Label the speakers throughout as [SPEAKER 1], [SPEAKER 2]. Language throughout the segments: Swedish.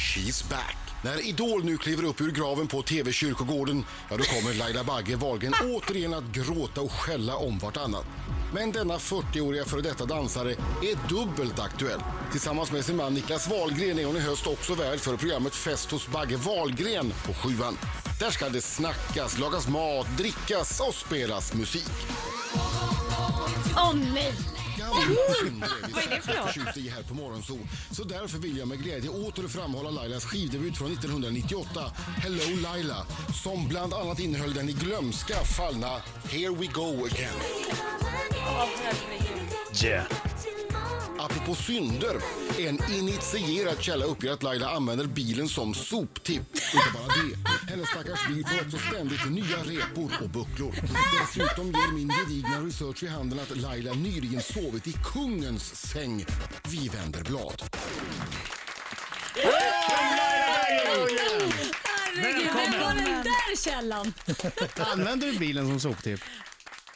[SPEAKER 1] She's back. När Idol nu kliver upp ur graven på TV-kyrkogården, ja då kommer Laila Bagge Wahlgren återigen att gråta och skälla om vartannat. Men denna 40-åriga före detta dansare är dubbelt aktuell. Tillsammans med sin man Niklas Wahlgren är hon i höst också värd för programmet Fest hos Bagge Wahlgren på Sjuan. Där ska det snackas, lagas mat, drickas och spelas musik.
[SPEAKER 2] Åh nej!
[SPEAKER 1] Gamla synder är vi
[SPEAKER 2] Vad är det för
[SPEAKER 1] särskilt
[SPEAKER 2] låt?
[SPEAKER 1] förtjusta i här på Morgonzoo. Så därför vill jag med glädje åter framhålla Lailas skivdebut från 1998, Hello Laila, som bland annat innehöll den i glömska fallna Here We Go Again.
[SPEAKER 3] Yeah.
[SPEAKER 1] Apropå synder, en initierad källa uppger att Laila använder bilen som soptipp. Inte bara det, hennes stackars bil får också ständigt nya repor och bucklor. Dessutom ger min gedigna research vid handen att Laila nyligen sovit i kungens säng. Vi vänder blad.
[SPEAKER 2] Herregud, vem var den där källan?
[SPEAKER 4] Använder du bilen som soptipp?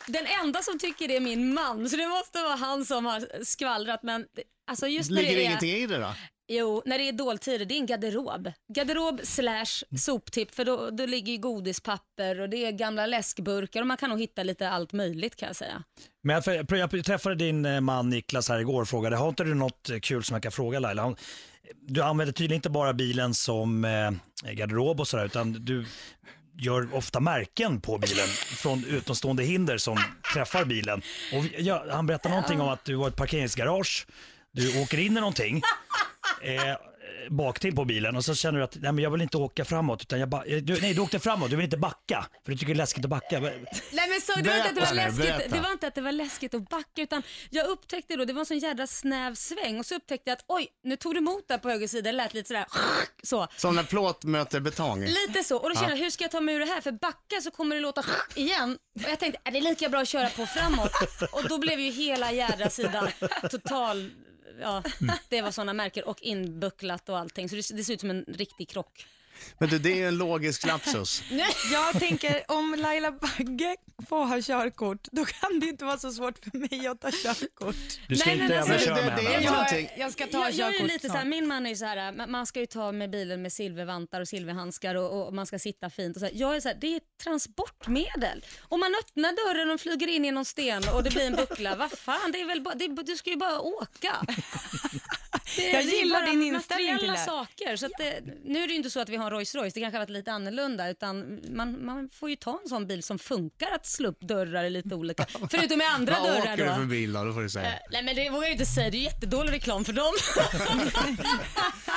[SPEAKER 2] Den enda som tycker det är min man, så det måste vara han som har skvallrat. Men alltså just när
[SPEAKER 4] Ligger
[SPEAKER 2] det
[SPEAKER 4] det
[SPEAKER 2] är...
[SPEAKER 4] inget i det då?
[SPEAKER 2] Jo, när det är dåltider, det är en garderob. Garderob slash soptipp, för då, då ligger ju godispapper och det är gamla läskburkar och man kan nog hitta lite allt möjligt kan jag säga.
[SPEAKER 3] Men jag, jag träffade din eh, man Niklas här igår och frågade, har inte du något eh, kul som jag kan fråga Laila? Hon, du använder tydligen inte bara bilen som eh, garderob och sådär, utan du gör ofta märken på bilen från utomstående hinder som träffar bilen. Och vi- ja, han berättade någonting om att du har ett parkeringsgarage, du åker in i någonting, eh, bak till på bilen och så känner du att nej, men jag vill inte åka framåt, utan jag ba- eh, du, nej du åkte framåt, du vill inte backa, för du tycker det är läskigt att backa.
[SPEAKER 2] Nej men så, det var inte att det var
[SPEAKER 4] Berätta nu,
[SPEAKER 2] läskigt,
[SPEAKER 4] berätta.
[SPEAKER 2] det var inte att det var läskigt att backa utan jag upptäckte då, det var en sån jädra snäv sväng och så upptäckte jag att oj, nu tog det emot där på höger sida, det lät lite sådär så.
[SPEAKER 4] Som när plåt möter betong.
[SPEAKER 2] Lite så. Och då kände jag, hur ska jag ta mig ur det här? För backa så kommer det låta igen. Och jag tänkte, är det är lika bra att köra på framåt. Och då blev ju hela jädra sidan total, ja, det var sådana märken och inbucklat och allting. Så det, det ser ut som en riktig krock.
[SPEAKER 4] Men du, det är ju en logisk lapsus.
[SPEAKER 5] Jag tänker om Laila Bagge får ha körkort, då kan det inte vara så svårt för mig att ta körkort.
[SPEAKER 3] Du ska
[SPEAKER 2] Nej, nej,
[SPEAKER 3] inte
[SPEAKER 2] nej,
[SPEAKER 3] jävla
[SPEAKER 2] nej,
[SPEAKER 3] köra
[SPEAKER 4] det-
[SPEAKER 3] med
[SPEAKER 4] alltså, det är
[SPEAKER 3] henne.
[SPEAKER 4] ju- någonting.
[SPEAKER 5] Jag, jag ska ta
[SPEAKER 2] Jag, jag är ju
[SPEAKER 5] körkort
[SPEAKER 2] lite så här, min man är ju så här, ma- man ska ju ta med bilen med silvervantar och silverhandskar och, och man ska sitta fint och så här. Jag är så här, det är ett transportmedel. Om man öppnar dörren och flyger in genom sten och det blir en buckla, vad fan, det är väl bara, det, är- du ska ju bara åka. Det,
[SPEAKER 5] Jag
[SPEAKER 2] det är
[SPEAKER 5] gillar
[SPEAKER 2] bara
[SPEAKER 5] din inställning till
[SPEAKER 2] materiella
[SPEAKER 5] det här.
[SPEAKER 2] saker. Så att det, nu är det ju inte så att vi har en Rolls Royce, det kanske har varit lite annorlunda, utan man, man får ju ta en sån bil som funkar att slå upp dörrar i lite olika, förutom i andra
[SPEAKER 4] Vad
[SPEAKER 2] dörrar
[SPEAKER 4] åker
[SPEAKER 2] då. Eh.
[SPEAKER 4] du för bil då? Då får du säga.
[SPEAKER 2] Nej men det vågar jag ju inte säga, det är ju jättedålig reklam för dem.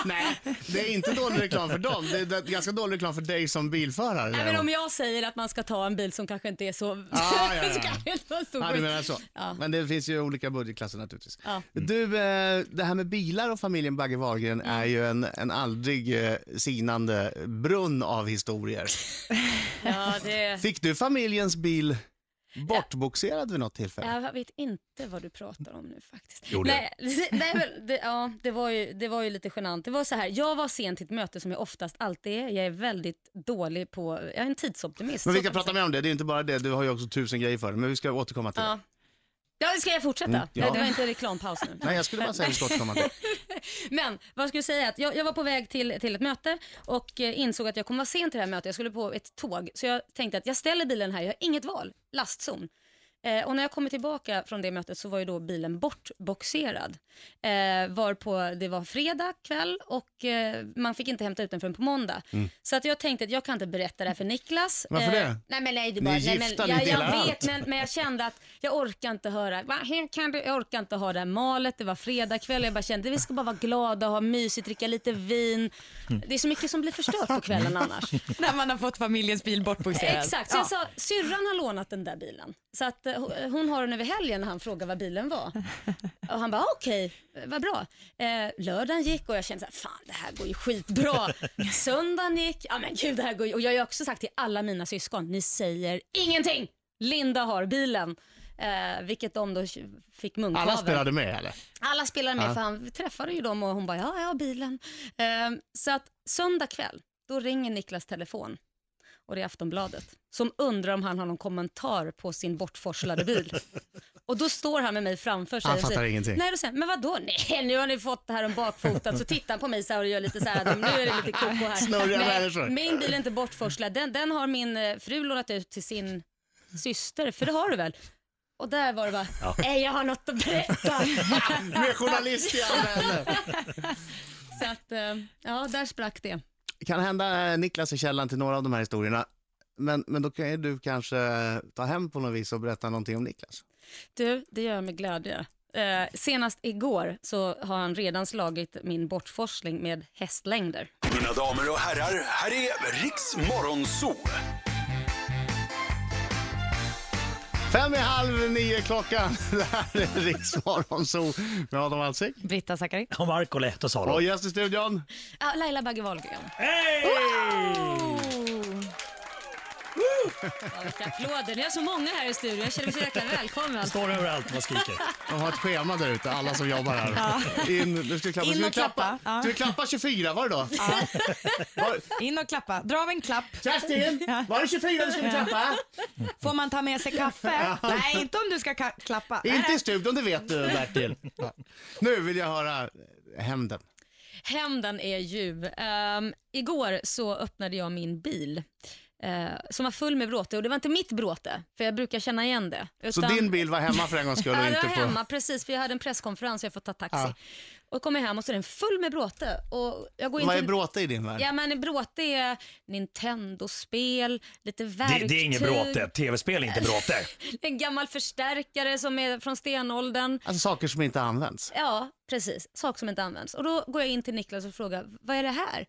[SPEAKER 4] Nej, det är inte dålig reklam för dem. Det är det är ganska dålig reklam för dig som bilförare.
[SPEAKER 2] Nej men om jag säger att man ska ta en bil som kanske inte är så...
[SPEAKER 4] Ah, ja, ja.
[SPEAKER 2] så kanske det inte var stor
[SPEAKER 4] Ja, du
[SPEAKER 2] skillnad.
[SPEAKER 4] menar så.
[SPEAKER 2] Ja.
[SPEAKER 4] Men det finns ju olika budgetklasser naturligtvis.
[SPEAKER 2] Ja.
[SPEAKER 4] Du, eh, det här med bilar och familjen Bagge
[SPEAKER 2] Mm.
[SPEAKER 4] Wahlgren är ju en, en aldrig eh, sinande brunn av historier.
[SPEAKER 2] ja, det...
[SPEAKER 4] Fick du familjens bil bortboxerad vid något tillfälle?
[SPEAKER 2] Jag vet inte vad du pratar om nu faktiskt.
[SPEAKER 3] Jo, det-
[SPEAKER 2] nej, nej, men det, ja, det, var ju, det var ju lite genant. Det var så här, jag var sen till ett möte som jag oftast alltid är. Jag är väldigt dålig på, jag är en tidsoptimist.
[SPEAKER 4] Men vi
[SPEAKER 2] Så
[SPEAKER 4] ska
[SPEAKER 2] kan man
[SPEAKER 4] prata mer om det, det är inte bara det, du har ju också tusen grejer för det, men vi ska återkomma till
[SPEAKER 2] säga.
[SPEAKER 4] det.
[SPEAKER 2] Ja. Ja, ska jag fortsätta?
[SPEAKER 4] Mm, ja.
[SPEAKER 2] Nej, det var inte reklampaus nu.
[SPEAKER 4] Nej, jag skulle bara säga att vi ska återkomma till det.
[SPEAKER 2] Men vad skulle jag säga? Att jag, jag var på väg till, till ett möte och eh, insåg att jag kommer vara sen till det här mötet. Jag skulle på ett tåg. Så jag tänkte att jag ställer bilen här, jag har inget val. Lastzon. Eh, och när jag kommer tillbaka från det mötet så var ju då bilen bortboxerad. Eh, varpå det var fredag kväll och eh, man fick inte hämta ut den förrän på måndag. Så att jag tänkte att jag kan inte berätta det här för Niklas.
[SPEAKER 4] Mm.
[SPEAKER 2] Eh,
[SPEAKER 4] Varför det?
[SPEAKER 2] Nej men nej, det är
[SPEAKER 4] Ni
[SPEAKER 2] bara,
[SPEAKER 4] är
[SPEAKER 2] nej,
[SPEAKER 4] gifta, ni
[SPEAKER 2] jag,
[SPEAKER 4] delar
[SPEAKER 2] jag vet
[SPEAKER 4] allt.
[SPEAKER 2] men, men jag kände att jag orkar inte höra, va, hur kan du, jag orkar inte ha det här malet, det var fredagkväll, jag bara kände vi ska bara vara glada, ha mysigt, dricka lite vin.
[SPEAKER 4] Mm.
[SPEAKER 2] Det är så mycket som blir förstört på kvällen annars.
[SPEAKER 5] När man har fått familjens bil bortboxerad.
[SPEAKER 2] Exakt, så jag sa, syrran har lånat den där bilen. Så att eh, ho- hon har den över helgen när han frågar vad bilen var. Och han bara, okej, eh, vad bra. Eh, lördagen gick och jag kände så här, fan det här går ju skitbra. Söndagen gick, ja men gud det här går ju... Och jag har ju också sagt till alla mina syskon, ni säger ingenting. Linda har bilen. Eh, vilket de då fick munkavel.
[SPEAKER 4] Alla spelade med eller?
[SPEAKER 2] Alla spelade med, för han träffade ju dem och hon bara, ja, jag har bilen. Ehm, så att söndag kväll, då ringer Niklas telefon. och det är Aftonbladet, som undrar om han har någon kommentar på sin bortforslade bil. och då står han med mig framför sig
[SPEAKER 4] Han
[SPEAKER 2] och
[SPEAKER 4] fattar
[SPEAKER 2] säger,
[SPEAKER 4] ingenting.
[SPEAKER 2] Nej, då säger han, men vadå, nej, nu har ni fått det här om bakfoten. Så tittar han på mig så här och gör lite så här, nu är det lite koko här.
[SPEAKER 4] Snurriga människor.
[SPEAKER 2] nej, min bil är inte bortforslad, den, den har min eh, fru lånat ut till sin syster, för det har du väl? Och där var det bara, nej jag har något att berätta.
[SPEAKER 4] Nu är journalist i alla ämnen.
[SPEAKER 2] så att, eh, ja där sprack det.
[SPEAKER 4] kan hända eh, Niklas är källan till några av de här historierna. Men, men då kan ju du kanske eh, ta hem på något vis och berätta någonting om Niklas.
[SPEAKER 2] Du, det gör jag med glädje. Eh, senast igår så har han redan slagit min bortforsling med hästlängder.
[SPEAKER 6] Mina damer och herrar, här är Riks Morgonzoo.
[SPEAKER 4] Fem i halv nio klockan. Det här är Riksmorgon Zoo med Adam Alsing.
[SPEAKER 5] Britta Zackari.
[SPEAKER 3] Och Marco Lehto sa
[SPEAKER 4] Och
[SPEAKER 3] det.
[SPEAKER 4] gäst i studion.
[SPEAKER 2] Ja, Laila Bagge Wahlgren.
[SPEAKER 3] Hej!
[SPEAKER 2] Ja, vilka applåder. Ni är så många här i studion. Jag känner mig så jäkla välkommen.
[SPEAKER 3] Står överallt och skriker.
[SPEAKER 4] De har ett schema där ute, alla som jobbar här. In, du skulle klappa.
[SPEAKER 5] In
[SPEAKER 4] Ska vi
[SPEAKER 5] och klappa, ja.
[SPEAKER 4] Ska vi klappa 24 var det då? Var,
[SPEAKER 5] In och klappa. Dra av en klapp.
[SPEAKER 4] Kerstin, var det 24 du skulle klappa?
[SPEAKER 5] Får man ta med sig kaffe? Nej, inte om du ska ka- klappa.
[SPEAKER 4] Inte i studion, det vet du Bertil. Ja. Nu vill jag höra hämnden.
[SPEAKER 2] Hämnden är ljuv. Ehm, igår så öppnade jag min bil eh, som var full med bråte och det var inte mitt bråte för jag brukar känna igen det.
[SPEAKER 4] Så
[SPEAKER 2] Utan-
[SPEAKER 4] din bil var hemma för en gångs skull och
[SPEAKER 2] Ja,
[SPEAKER 4] inte
[SPEAKER 2] jag
[SPEAKER 4] på...
[SPEAKER 2] var hemma precis för jag hade en presskonferens och jag får ta taxi.
[SPEAKER 4] Ja.
[SPEAKER 2] Och kommer hem och så är den full med bråte. Och jag går in
[SPEAKER 4] Vad är
[SPEAKER 2] till-
[SPEAKER 4] bråte i din värld?
[SPEAKER 2] Ja men bråte är Nintendo-spel, lite
[SPEAKER 3] Det,
[SPEAKER 2] verktyg.
[SPEAKER 3] det är inget bråte. Tv-spel är inte bråte.
[SPEAKER 2] En gammal förstärkare som är från stenåldern.
[SPEAKER 4] Alltså saker som inte används.
[SPEAKER 2] Ja, precis. Saker som inte används. Och då går jag in till Niklas och frågar, vad är det här?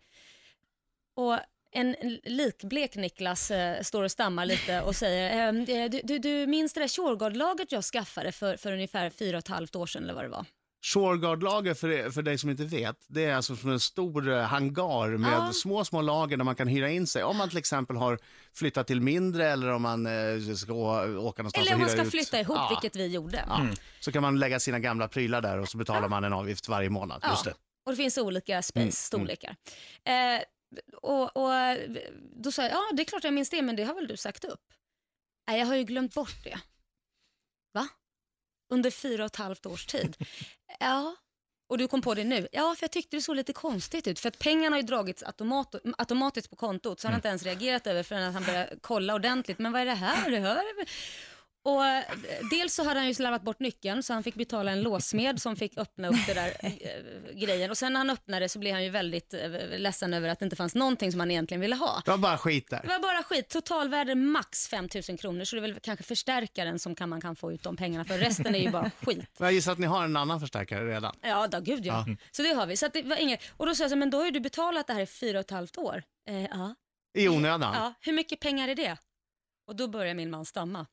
[SPEAKER 2] Och en likblek Niklas eh, står och stammar lite och säger, ehm, eh, du, du, du minns det där Shurgard-lagret jag skaffade för, för ungefär fyra och ett halvt år sedan eller vad det var?
[SPEAKER 4] Shoreguard-lager, för, för dig som inte vet, det är alltså som en stor eh, hangar med
[SPEAKER 2] Ja.
[SPEAKER 4] små, små lager där man kan hyra in sig. Om man till exempel har flyttat till mindre eller om man eh, ska å- åka någonstans
[SPEAKER 2] eller om
[SPEAKER 4] och
[SPEAKER 2] man
[SPEAKER 4] Alltså, hyra
[SPEAKER 2] ska
[SPEAKER 4] ut.
[SPEAKER 2] flytta ihop,
[SPEAKER 4] Ja, Mm,
[SPEAKER 2] vilket vi gjorde.
[SPEAKER 4] ja. Så kan man lägga sina gamla prylar där och så betalar man en avgift varje månad.
[SPEAKER 2] Ja.
[SPEAKER 4] Just det. Mm,
[SPEAKER 2] Och det finns olika space-storlekar. Eh, och, och eh, då sa jag, ja det är klart jag minns det, men det har väl du sagt upp? Nej, jag har ju glömt bort det. Va? Under fyra och ett halvt års tid? ja. Och du kom på det nu? Ja, för jag tyckte det såg lite konstigt ut, för att pengarna har ju dragits automat, automatiskt på kontot,
[SPEAKER 4] Mm.
[SPEAKER 2] så han har inte ens reagerat över förrän att han började kolla ordentligt. Men vad är det här? Det hör? Och eh, dels så hade han ju slarvat bort nyckeln så han fick betala en låsmed som fick öppna upp det där eh, grejen. Och sen när han öppnade så blev han ju väldigt eh, ledsen över att det inte fanns någonting som han egentligen ville ha.
[SPEAKER 4] Det var bara skit där.
[SPEAKER 2] Det var bara skit. Totalvärde max 5 000 kronor så det är väl kanske förstärkaren som kan, man kan få ut de pengarna för. Resten är ju bara skit.
[SPEAKER 4] Men Jag gissar att ni har en annan förstärkare redan.
[SPEAKER 2] Ja, då, gud ja. Så det har vi. Så att det var inget. Och då sa jag så här, men då har ju du betalat det här i fyra och ett halvt år. Eh, ja.
[SPEAKER 4] I onödan.
[SPEAKER 2] Ja, hur mycket pengar är det? Och då börjar min man stamma.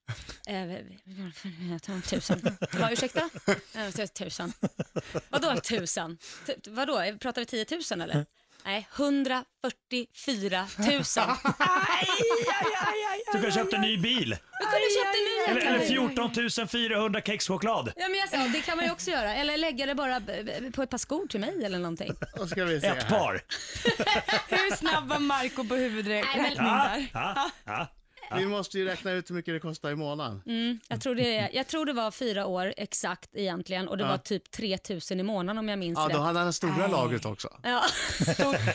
[SPEAKER 2] Eh, tusen. Bara, ursäkta? Eh, så- Tusen. Vadå tusen? T- vadå, pratar vi 10 000 eller? Nej, 144 000.
[SPEAKER 3] Du kunde köpt en ny bil.
[SPEAKER 2] Du kunde ha köpt en ny
[SPEAKER 3] Eller,
[SPEAKER 2] jäkla
[SPEAKER 3] eller
[SPEAKER 2] bil.
[SPEAKER 3] 14 400 kexchoklad.
[SPEAKER 2] Ja, men jag sa, det kan man ju också göra. Eller lägga det bara b- b- på ett par skor till mig eller någonting.
[SPEAKER 4] Då ska vi se
[SPEAKER 3] Ett
[SPEAKER 4] här.
[SPEAKER 3] par.
[SPEAKER 5] Hur snabb var Marco på huvudräkning
[SPEAKER 3] Ja,
[SPEAKER 5] där?
[SPEAKER 3] ja, ja.
[SPEAKER 4] Vi måste ju räkna ut hur mycket det kostar i månaden.
[SPEAKER 2] Mm, jag, tror det, är- jag tror det var fyra år exakt egentligen och det var typ 3 000 i månaden om jag minns
[SPEAKER 4] Ja,
[SPEAKER 2] rätt.
[SPEAKER 4] då hade han det stora lagret också.
[SPEAKER 2] Ja.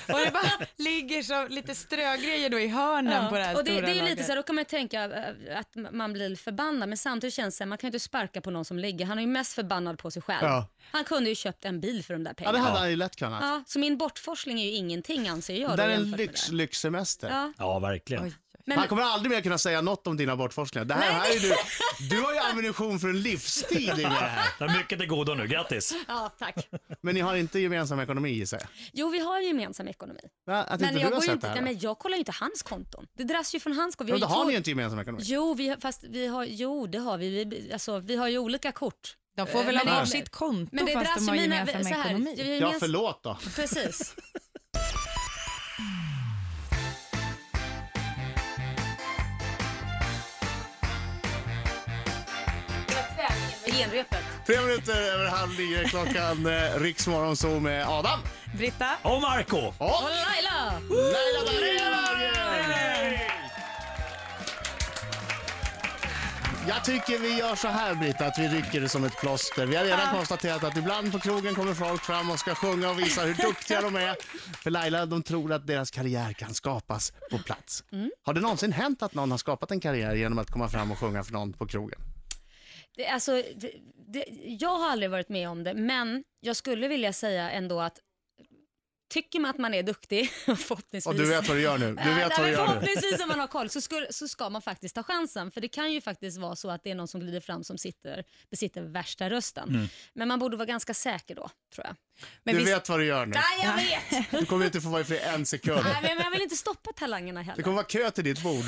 [SPEAKER 5] Och det bara ligger så lite strögrejer då i hörnen
[SPEAKER 2] Ja,
[SPEAKER 5] på det här
[SPEAKER 2] och det,
[SPEAKER 5] stora
[SPEAKER 2] det är ju lite
[SPEAKER 5] lagret.
[SPEAKER 2] så här, då kan man ju tänka eh, att man blir förbannad, men samtidigt känns det så här, man kan ju inte sparka på någon som ligger. Han är ju mest förbannad på sig själv.
[SPEAKER 4] Ja.
[SPEAKER 2] Han kunde ju köpt en bil för de där
[SPEAKER 4] Ja, det
[SPEAKER 2] pengarna.
[SPEAKER 4] hade han ju lätt kunnat.
[SPEAKER 2] Ja, så min bortforsling är ju ingenting anser jag. då,
[SPEAKER 4] Det är en
[SPEAKER 2] jämfört med
[SPEAKER 4] lyx,
[SPEAKER 2] det.
[SPEAKER 4] lyxsemester.
[SPEAKER 2] Ja.
[SPEAKER 3] ja verkligen.
[SPEAKER 2] Men,
[SPEAKER 4] Man kommer aldrig mer kunna säga något om dina bortforskningar. Det här, här är du, du har ju ammunition för en livstid i det här.
[SPEAKER 3] Det är mycket till godo nu, grattis.
[SPEAKER 2] ja, tack.
[SPEAKER 4] Men ni har inte gemensam ekonomi gissar jag.
[SPEAKER 2] Jo, vi har ju gemensam ekonomi.
[SPEAKER 4] Va? Att
[SPEAKER 2] Men
[SPEAKER 4] inte
[SPEAKER 2] jag,
[SPEAKER 4] du har
[SPEAKER 2] går ju
[SPEAKER 4] sett
[SPEAKER 2] inte,
[SPEAKER 4] det här?
[SPEAKER 2] nej,
[SPEAKER 4] va?
[SPEAKER 2] men jag kollar ju inte hans konton. Det dras ju från hans konto. Vi
[SPEAKER 4] Men då
[SPEAKER 2] ju
[SPEAKER 4] har
[SPEAKER 2] två-
[SPEAKER 4] ni ju inte gemensam ekonomi.
[SPEAKER 2] Jo, vi har, fast vi har, jo, det har vi. vi alltså, vi har ju olika kort.
[SPEAKER 5] De får väl
[SPEAKER 4] Eh,
[SPEAKER 2] Men
[SPEAKER 5] ha
[SPEAKER 2] det-
[SPEAKER 5] varsitt konto
[SPEAKER 2] Men det
[SPEAKER 5] fast
[SPEAKER 2] dras
[SPEAKER 5] de
[SPEAKER 2] ju
[SPEAKER 5] har
[SPEAKER 2] mina...
[SPEAKER 5] gemensam
[SPEAKER 2] så här,
[SPEAKER 5] ekonomi.
[SPEAKER 2] vi har
[SPEAKER 4] Ja,
[SPEAKER 2] gemensam-
[SPEAKER 4] förlåt då.
[SPEAKER 2] Precis. Genrepet.
[SPEAKER 4] Tre minuter över halv nio är klockan. eh, Riksmorgon så med Adam
[SPEAKER 5] Britta?
[SPEAKER 3] Och Marco
[SPEAKER 4] och
[SPEAKER 2] Och Laila!
[SPEAKER 4] Laila Bagge! Jag tycker vi gör så här Britta, att vi rycker det som ett plåster. Vi har redan konstaterat att ibland på krogen kommer folk fram och ska sjunga och visa hur duktiga de är. För Laila, de tror att deras karriär kan skapas på plats.
[SPEAKER 2] Mm.
[SPEAKER 4] Har det någonsin hänt att någon har skapat en karriär genom att komma fram och sjunga för någon på krogen?
[SPEAKER 2] Det, alltså, det, det, jag har aldrig varit med om det, men jag skulle vilja säga ändå att tycker man att man är duktig, och förhoppningsvis...
[SPEAKER 4] Och du vet vad du gör nu. Du
[SPEAKER 2] Ja,
[SPEAKER 4] vet
[SPEAKER 2] nej,
[SPEAKER 4] vad du
[SPEAKER 2] men
[SPEAKER 4] gör nu.
[SPEAKER 2] Förhoppningsvis om man har koll så, skulle, så ska man faktiskt ta chansen. För det kan ju faktiskt vara så att det är någon som glider fram som sitter, besitter värsta rösten.
[SPEAKER 4] Mm.
[SPEAKER 2] Men man borde vara ganska säker då, tror jag.
[SPEAKER 5] Men
[SPEAKER 4] Du
[SPEAKER 5] visst,
[SPEAKER 4] vet vad du gör nu.
[SPEAKER 2] Nej, jag vet!
[SPEAKER 4] Du kommer inte få vara i fred en sekund.
[SPEAKER 2] nej, men jag vill inte stoppa talangerna
[SPEAKER 4] Det
[SPEAKER 2] heller.
[SPEAKER 4] kommer vara kö till ditt bord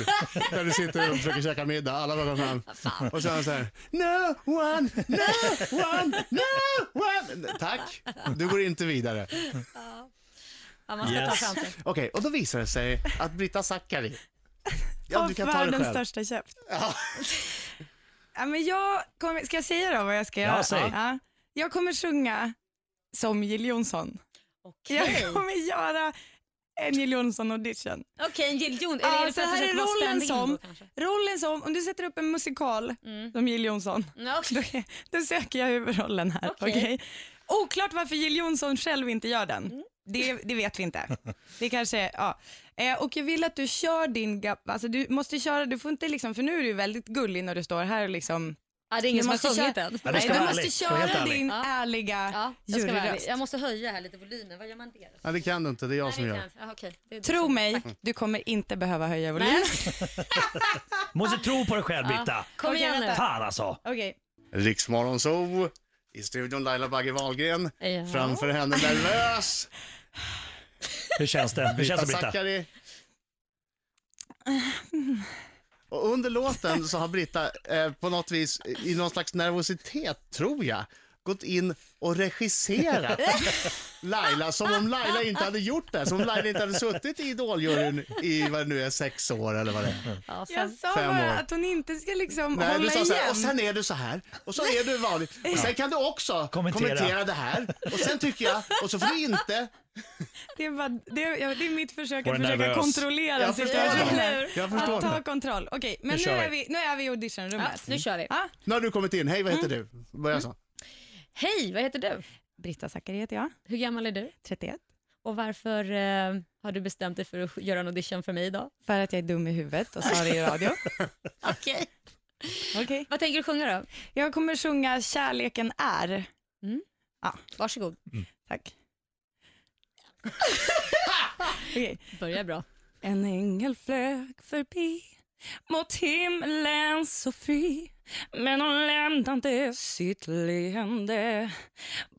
[SPEAKER 4] när du sitter och försöker käka middag. Alla bara kommer fram. Och så är han så här. No one, no one, no one. Tack, du går inte vidare.
[SPEAKER 2] Ja, man ska
[SPEAKER 3] Yes.
[SPEAKER 2] ta chansen.
[SPEAKER 4] Okej, och då visar det sig att Britta Zackari. Ja,
[SPEAKER 5] av
[SPEAKER 4] du kan ta det
[SPEAKER 5] världens
[SPEAKER 4] själv.
[SPEAKER 5] största köpt. Ja, men jag kommer, ska jag säga då vad jag ska
[SPEAKER 3] Ja,
[SPEAKER 5] göra?
[SPEAKER 3] säg.
[SPEAKER 5] Ja. Jag kommer sjunga som Jill Johnson.
[SPEAKER 2] Okej,
[SPEAKER 5] Jag kommer göra en Jill Johnson-audition.
[SPEAKER 2] Okej, en Jill Jones.
[SPEAKER 5] Ja,
[SPEAKER 2] det
[SPEAKER 5] så
[SPEAKER 2] för att
[SPEAKER 5] här
[SPEAKER 2] du
[SPEAKER 5] är
[SPEAKER 2] ska vara
[SPEAKER 5] rollen
[SPEAKER 2] stand-in
[SPEAKER 5] som,
[SPEAKER 2] då, kanske? Mm.
[SPEAKER 5] rollen som, om du sätter upp en musikal som Jill Johnson,
[SPEAKER 2] Ja, okej.
[SPEAKER 5] då, då söker jag huvudrollen här.
[SPEAKER 2] Okej.
[SPEAKER 5] Okej. Oklart varför Jill Johnson själv inte gör den.
[SPEAKER 2] Mm.
[SPEAKER 5] Det, det vet vi inte. Det kanske, ja. Eh, och jag vill att du kör din, gap- alltså du måste köra, du får inte liksom, för nu är du väldigt gullig när du står här och liksom,
[SPEAKER 2] Ja, det är ingen
[SPEAKER 5] du
[SPEAKER 2] som har
[SPEAKER 5] måste
[SPEAKER 2] sjungit
[SPEAKER 5] köra-
[SPEAKER 2] än.
[SPEAKER 3] Ja, du
[SPEAKER 5] Nej,
[SPEAKER 3] ska
[SPEAKER 5] du
[SPEAKER 3] vara
[SPEAKER 5] måste
[SPEAKER 3] ärlig. Du ska vara helt
[SPEAKER 5] köra
[SPEAKER 3] ärlig.
[SPEAKER 5] din
[SPEAKER 2] Ja.
[SPEAKER 5] ärliga
[SPEAKER 2] Ja, jag, ska vara ärlig.
[SPEAKER 5] juryröst.
[SPEAKER 2] jag måste höja här lite volymen. Vad gör man det?
[SPEAKER 4] Ja, det kan du inte, det är jag som
[SPEAKER 2] Nej, det
[SPEAKER 4] gör.
[SPEAKER 2] kan jag. Ja, okej. Det är du
[SPEAKER 5] Tro
[SPEAKER 2] som-
[SPEAKER 5] mig, du kommer inte behöva höja volymen.
[SPEAKER 3] Måste tro på dig själv Britta.
[SPEAKER 2] Kom
[SPEAKER 5] Okej,
[SPEAKER 2] igen nu.
[SPEAKER 5] vänta.
[SPEAKER 3] Fan alltså.
[SPEAKER 5] Okej.
[SPEAKER 4] Riksmorgon Zoo. I studion Laila Bagge Wahlgren.
[SPEAKER 2] Ja.
[SPEAKER 4] Framför henne nervös.
[SPEAKER 3] Hur känns det? Hur känns det Britta?
[SPEAKER 4] Zackari. Och under låten så har Britta eh, på något vis, i någon slags nervositet tror jag, gått in och regisserat Laila som om Laila inte hade gjort det. Som om Laila inte hade suttit i Idoljuryn i vad det nu är, sex år eller vad det är.
[SPEAKER 2] Ja, fem.
[SPEAKER 5] Jag sa
[SPEAKER 4] Fem
[SPEAKER 5] bara
[SPEAKER 4] år.
[SPEAKER 5] att hon inte ska liksom
[SPEAKER 4] Nej, du
[SPEAKER 5] hålla
[SPEAKER 4] sa så här,
[SPEAKER 5] igen.
[SPEAKER 4] och sen är du så här, och så är du vanlig. Och sen kan du också kommentera.
[SPEAKER 3] Kommentera.
[SPEAKER 4] det här, och sen tycker jag, och så får du inte.
[SPEAKER 5] Det, är bara, det, är, ja, det är mitt försök
[SPEAKER 3] Var
[SPEAKER 5] att
[SPEAKER 3] du
[SPEAKER 5] försöka
[SPEAKER 3] nervös?
[SPEAKER 5] kontrollera
[SPEAKER 4] Jag förstår
[SPEAKER 5] situationen.
[SPEAKER 4] det. Jag förstår
[SPEAKER 5] Att ta
[SPEAKER 4] det.
[SPEAKER 5] kontroll. Okej, men
[SPEAKER 3] Nu
[SPEAKER 5] nu,
[SPEAKER 3] kör
[SPEAKER 5] är
[SPEAKER 3] vi.
[SPEAKER 5] vi, nu är vi i auditionrummet.
[SPEAKER 2] Ja, nu kör vi.
[SPEAKER 5] Ja,
[SPEAKER 4] Nu har du kommit in, hej vad heter du? Börja så.
[SPEAKER 2] Hej, vad heter du?
[SPEAKER 5] Britta Zackari heter jag,
[SPEAKER 2] Hur gammal är du?
[SPEAKER 5] 31.
[SPEAKER 2] Och varför eh, har du bestämt dig för att göra en audition för mig idag?
[SPEAKER 5] För att jag är dum i huvudet och sa det i radio.
[SPEAKER 2] Okej.
[SPEAKER 5] Okej.
[SPEAKER 2] Vad tänker du sjunga då?
[SPEAKER 5] Jag kommer sjunga Kärleken är.
[SPEAKER 2] Varsågod.
[SPEAKER 5] Tack. Okej.
[SPEAKER 2] Börja bra.
[SPEAKER 5] En ängel flög förbi mot himlen så fri men hon lämnade sitt leende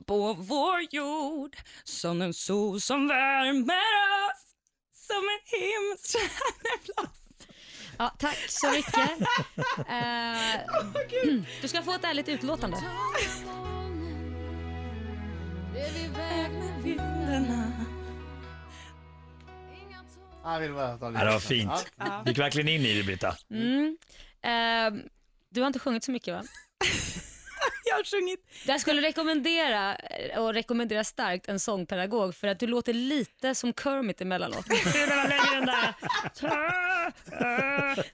[SPEAKER 5] på vår jord som en sol som värmer oss som en himmelstjärna.
[SPEAKER 2] Ja, tack så mycket. Eh, du ska få ett ärligt utlåtande.
[SPEAKER 4] Jag vill bara ta lite.
[SPEAKER 3] Ja, det var fint.
[SPEAKER 4] Ja.
[SPEAKER 3] Du gick verkligen in i det Britta.
[SPEAKER 2] Mm. Eh, du har inte sjungit så mycket va?
[SPEAKER 5] Jag har sjungit.
[SPEAKER 2] Jag skulle rekommendera, eh, och rekommendera starkt, en sångpedagog för att du låter lite som Kermit emellanåt.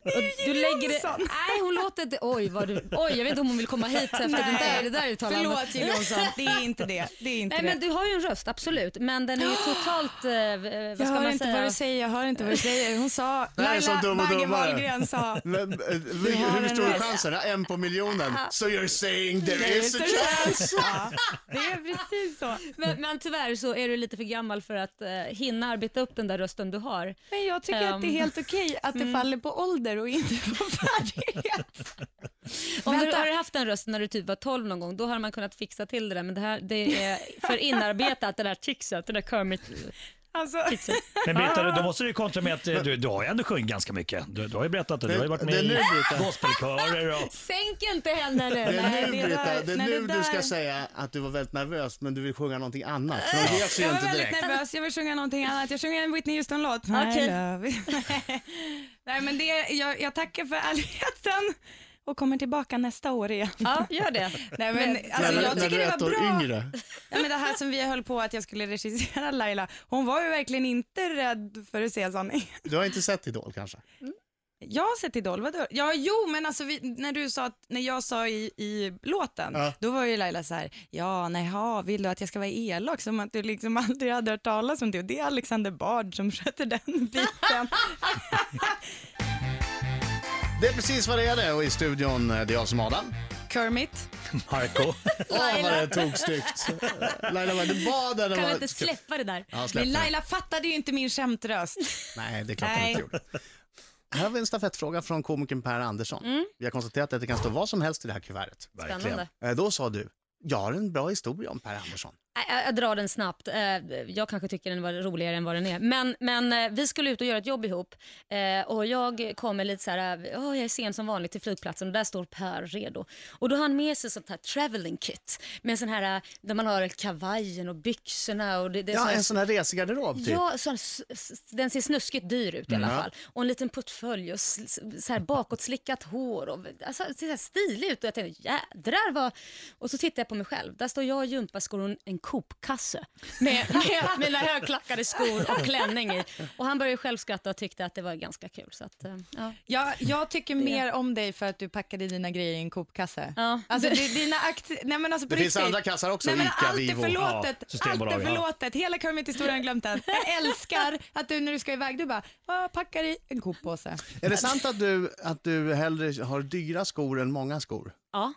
[SPEAKER 2] Och du lägger det,
[SPEAKER 5] Johnson.
[SPEAKER 2] nej hon låter det, oj, vad du, oj jag vet inte om hon vill komma hit efter det där, det där uttalandet.
[SPEAKER 5] Jill Johnson, det är inte det. det, är inte
[SPEAKER 2] Nej men du har ju en röst, absolut. Men den är ju totalt, eh, eh, vad ska man säga?
[SPEAKER 5] säger, jag hör inte vad du säger. Hon sa,
[SPEAKER 4] Det här är som Dum och Dummare.
[SPEAKER 5] sa
[SPEAKER 4] Men, eh,
[SPEAKER 5] har
[SPEAKER 4] hur hur
[SPEAKER 5] en
[SPEAKER 4] stor är
[SPEAKER 5] röst.
[SPEAKER 4] chansen? En på miljonen. So you're saying there is a chance?
[SPEAKER 5] Ja, det är precis så.
[SPEAKER 2] men, men tyvärr så är du lite för gammal för att eh, hinna arbeta upp den där rösten du har.
[SPEAKER 5] Men jag tycker att det är
[SPEAKER 2] Ehm.
[SPEAKER 5] helt okej att det faller på ålder och inte på färdighet.
[SPEAKER 2] Om du
[SPEAKER 5] Vänta.
[SPEAKER 2] har haft en röst när du typ var 12 någon gång, då har man kunnat fixa till det där. Men det här, det är för inarbetat, det där tixet, det där Kermit-tixet.
[SPEAKER 5] Alltså,
[SPEAKER 3] Men Britta, då måste du ju kontra med att eh, du, du har ju ändå sjungit ganska mycket. Du, du har ju berättat det. Du har ju varit
[SPEAKER 4] Det
[SPEAKER 3] med
[SPEAKER 4] är nu,
[SPEAKER 3] i
[SPEAKER 4] Britta.
[SPEAKER 3] gospelkörer och...
[SPEAKER 2] Sänk inte henne nu!
[SPEAKER 4] Det är nu,
[SPEAKER 5] det
[SPEAKER 4] Britta,
[SPEAKER 5] där-
[SPEAKER 4] det är
[SPEAKER 5] nej,
[SPEAKER 4] nu
[SPEAKER 5] det
[SPEAKER 4] du
[SPEAKER 5] där-
[SPEAKER 4] ska säga att du var väldigt nervös men du vill sjunga någonting annat. För de ges ju
[SPEAKER 5] jag var
[SPEAKER 4] inte
[SPEAKER 5] väldigt
[SPEAKER 4] direkt.
[SPEAKER 5] nervös, jag vill sjunga någonting annat. Jag sjunger en Whitney Houston-låt. My
[SPEAKER 2] Okej.
[SPEAKER 5] love is- Nej, men det, jag, jag tackar för ärligheten och kommer tillbaka nästa år igen.
[SPEAKER 2] Ja, gör det.
[SPEAKER 5] Nej, men, alltså,
[SPEAKER 4] När-
[SPEAKER 5] jag
[SPEAKER 4] när
[SPEAKER 5] tycker
[SPEAKER 4] du är
[SPEAKER 5] det
[SPEAKER 4] ett
[SPEAKER 5] var
[SPEAKER 4] år
[SPEAKER 5] bra.
[SPEAKER 4] yngre.
[SPEAKER 5] Ja, men det här som vi höll på att jag skulle regissera Laila, hon var ju verkligen inte rädd för att säga sanning.
[SPEAKER 4] Du har inte sett Idol kanske?
[SPEAKER 5] Jag har sett Idol, vadå? Ja, jo, men alltså vi, när du sa att, när jag sa i, i låten,
[SPEAKER 4] Ja.
[SPEAKER 5] då var ju Laila så här, ja, nej, ha, vill du att jag ska vara elak? Som att du liksom aldrig hade hört talas om det. Och det är Alexander Bard som sköter den biten.
[SPEAKER 4] Det är precis vad det är det och i studion eh, det är jag som Adam.
[SPEAKER 5] Kermit.
[SPEAKER 3] Marco.
[SPEAKER 4] Åh vad det tog snyggt. Laila vad det var där det
[SPEAKER 2] Kan
[SPEAKER 4] var...
[SPEAKER 2] vi inte släppa det där?
[SPEAKER 4] Ja, släpp
[SPEAKER 5] Men
[SPEAKER 4] det.
[SPEAKER 5] Laila fattade ju inte min skämtröst.
[SPEAKER 4] Nej, det är klart han
[SPEAKER 5] Nej.
[SPEAKER 4] inte gjorde. Här har vi en stafettfråga från komikern Per Andersson. Vi har konstaterat att det kan stå vad som helst i det här kuvertet.
[SPEAKER 2] Mm. Spännande.
[SPEAKER 4] Eh, Då sa du, jag har en bra historia om Per Andersson.
[SPEAKER 2] Nej, Jag, jag drar den snabbt. Eh, Jag kanske tycker den var roligare än vad den är. Men, men eh, vi skulle ut och göra ett jobb ihop Eh, och jag kommer lite så här, "Åh, jag är sen som vanligt till flygplatsen och där står Per redo. Och då har han med sig sånt här traveling kit med sån här eh, där man har kavajen och byxorna och det, det är sån
[SPEAKER 4] Ja,
[SPEAKER 2] här
[SPEAKER 4] en sån här resegarderob typ. Mm.
[SPEAKER 2] Ja, så, s- s- den ser snuskigt dyr ut i alla
[SPEAKER 4] Ja.
[SPEAKER 2] fall. Och en liten portfölj och s- s- så här bakåtslickat hår. Och, alltså, det ser så här stilig ut och jag tänkte jädrar vad... Och så tittar jag på mig själv. Där står jag i gympaskor och en- en Coop-kasse med, med mina högklackade skor och klänning i. Och han började ju själv skratta och tyckte att det var ganska kul. Så att, eh, ja.
[SPEAKER 5] Jag, jag tycker mer om dig för att du packade dina grejer i en Coop-kasse.
[SPEAKER 2] Ja.
[SPEAKER 5] Alltså, du, dina aktier... Nej, men alltså på
[SPEAKER 4] Det finns
[SPEAKER 5] riktigt.
[SPEAKER 4] andra kassar också,
[SPEAKER 5] Nej, men
[SPEAKER 4] Ica,
[SPEAKER 5] allt är
[SPEAKER 4] Vivo.
[SPEAKER 3] Ja,
[SPEAKER 5] förlåtet. allt
[SPEAKER 3] Systembolaget,
[SPEAKER 5] är
[SPEAKER 3] ja.
[SPEAKER 5] förlåtet. Hela Kermit-historien har jag glömt än. Jag älskar att du när du ska iväg, du bara, "Ah, packar i en Coop-påse.
[SPEAKER 4] Är det sant att du, att du hellre har dyra skor än många skor?
[SPEAKER 2] ja,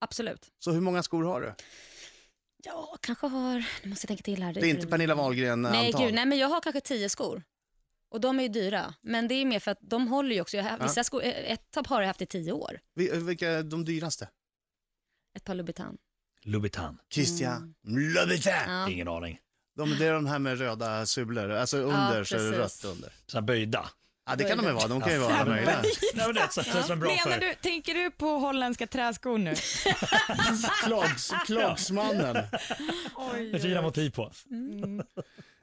[SPEAKER 2] absolut.
[SPEAKER 4] Så hur många skor har du?
[SPEAKER 2] Ja, kanske har... Nu måste jag tänka till här.
[SPEAKER 4] Det är inte Pernilla Wahlgren
[SPEAKER 2] Nej,
[SPEAKER 4] antal.
[SPEAKER 2] gud, nej, men jag har kanske tio skor. Och de är ju dyra, men det är mer för att de håller ju också. Jag har,
[SPEAKER 4] Ja.
[SPEAKER 2] Vissa skor, eh, ett par har jag haft i tio år.
[SPEAKER 4] Vi- eh, Vilka är de dyraste?
[SPEAKER 2] Ett par Louboutin.
[SPEAKER 3] Louboutin.
[SPEAKER 2] Mm.
[SPEAKER 4] Christian Louboutin.
[SPEAKER 2] Ja.
[SPEAKER 3] Ingen aning.
[SPEAKER 4] De, det är de här med röda sulor, alltså under så är det
[SPEAKER 2] precis.
[SPEAKER 4] rött under.
[SPEAKER 3] Så här böjda.
[SPEAKER 4] Ja, det kan de ju vara, de kan ju vara alla
[SPEAKER 3] Fan,
[SPEAKER 4] möjliga.
[SPEAKER 3] men- Nej, men det är så, så, så en bra
[SPEAKER 5] Menar
[SPEAKER 3] färg.
[SPEAKER 5] du, tänker du på holländska träskor nu?
[SPEAKER 4] Klogs, klogsmannen.
[SPEAKER 3] Med fina motiv på.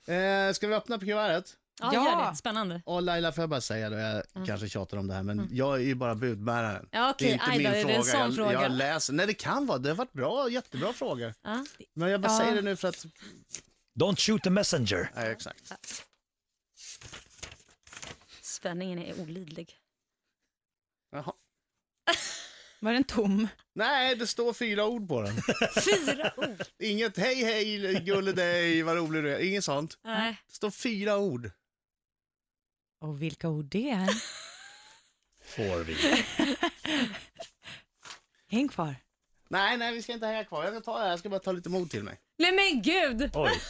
[SPEAKER 4] Eh, ska vi öppna på kuvertet?
[SPEAKER 2] Ja,
[SPEAKER 5] Ja.
[SPEAKER 2] gör det. Spännande.
[SPEAKER 4] Och Laila, får jag bara säga då, jag kanske tjatar om det här, men jag är ju bara budbäraren.
[SPEAKER 2] Mm. Ja, okej.
[SPEAKER 4] det är inte
[SPEAKER 2] Aj då,
[SPEAKER 4] min
[SPEAKER 2] är det en
[SPEAKER 4] fråga.
[SPEAKER 2] sån
[SPEAKER 4] jag,
[SPEAKER 2] fråga?
[SPEAKER 4] jag läser. Nej, det kan vara. Det har varit bra, jättebra frågor.
[SPEAKER 2] Ja.
[SPEAKER 4] Men jag bara
[SPEAKER 5] Ja.
[SPEAKER 4] säger det nu för att...
[SPEAKER 3] Don't shoot the messenger.
[SPEAKER 4] Nej, exakt.
[SPEAKER 2] Spänningen är olidlig.
[SPEAKER 4] Jaha.
[SPEAKER 5] Var den tom?
[SPEAKER 4] Nej, det står fyra ord på den.
[SPEAKER 2] Fyra ord.
[SPEAKER 4] Inget hej, hej, gulledej, vad rolig du är. Inget sånt.
[SPEAKER 2] Nej.
[SPEAKER 4] Det står fyra ord.
[SPEAKER 5] Och vilka ord det är.
[SPEAKER 3] Får vi.
[SPEAKER 5] Häng kvar.
[SPEAKER 4] Nej, nej, vi ska inte hänga kvar. Jag ska ta det här. Jag ska bara ta lite mod till mig.
[SPEAKER 2] Nej men gud!
[SPEAKER 3] Oj.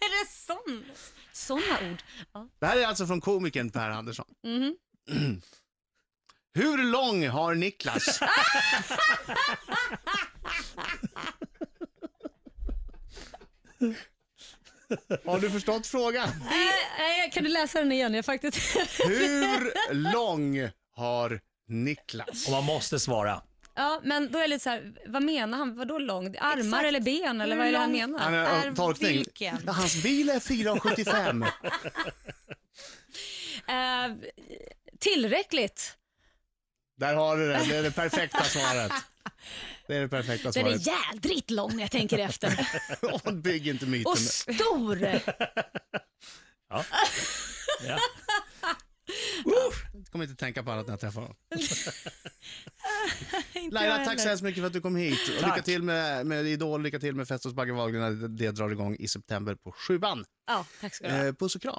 [SPEAKER 2] Är det sån? Såna ord? Ja.
[SPEAKER 4] Det här är alltså från komikern Per Andersson.
[SPEAKER 2] Mhm.
[SPEAKER 4] Hur lång har Niklas? har du förstått frågan?
[SPEAKER 2] Äh, äh, kan du läsa den igen? Jag faktiskt...
[SPEAKER 4] Hur lång har Niklas?
[SPEAKER 3] Och man måste svara.
[SPEAKER 2] ja, men då är jag lite så här, vad menar han? Vadå lång? Armar
[SPEAKER 5] Exakt.
[SPEAKER 2] eller ben? Eller
[SPEAKER 5] Hur
[SPEAKER 2] vad är det han
[SPEAKER 5] lång-
[SPEAKER 2] menar?
[SPEAKER 4] Han har
[SPEAKER 5] Är
[SPEAKER 4] tolkning.
[SPEAKER 5] vilken?
[SPEAKER 4] Ja, Hans bil är 4,75.
[SPEAKER 2] Eh, tillräckligt.
[SPEAKER 4] Där har du det. Det är det perfekta svaret. Det är det perfekta
[SPEAKER 2] Den
[SPEAKER 4] svaret.
[SPEAKER 2] är jädrigt lång när jag tänker efter.
[SPEAKER 4] Åh, Bygg inte myten.
[SPEAKER 2] Och stor!
[SPEAKER 3] Ja.
[SPEAKER 4] Jag kommer inte tänka på annat när jag träffar honom.
[SPEAKER 5] Inte jag
[SPEAKER 4] Laila,
[SPEAKER 5] heller.
[SPEAKER 4] tack så hemskt mycket för att du kom hit. Och lycka till med, med Idol, lycka till med Fest hos Bagge Wahlgren. när Det drar igång i september på sjuan.
[SPEAKER 2] Ja, tack ska du ha.
[SPEAKER 4] Eh, puss och kram.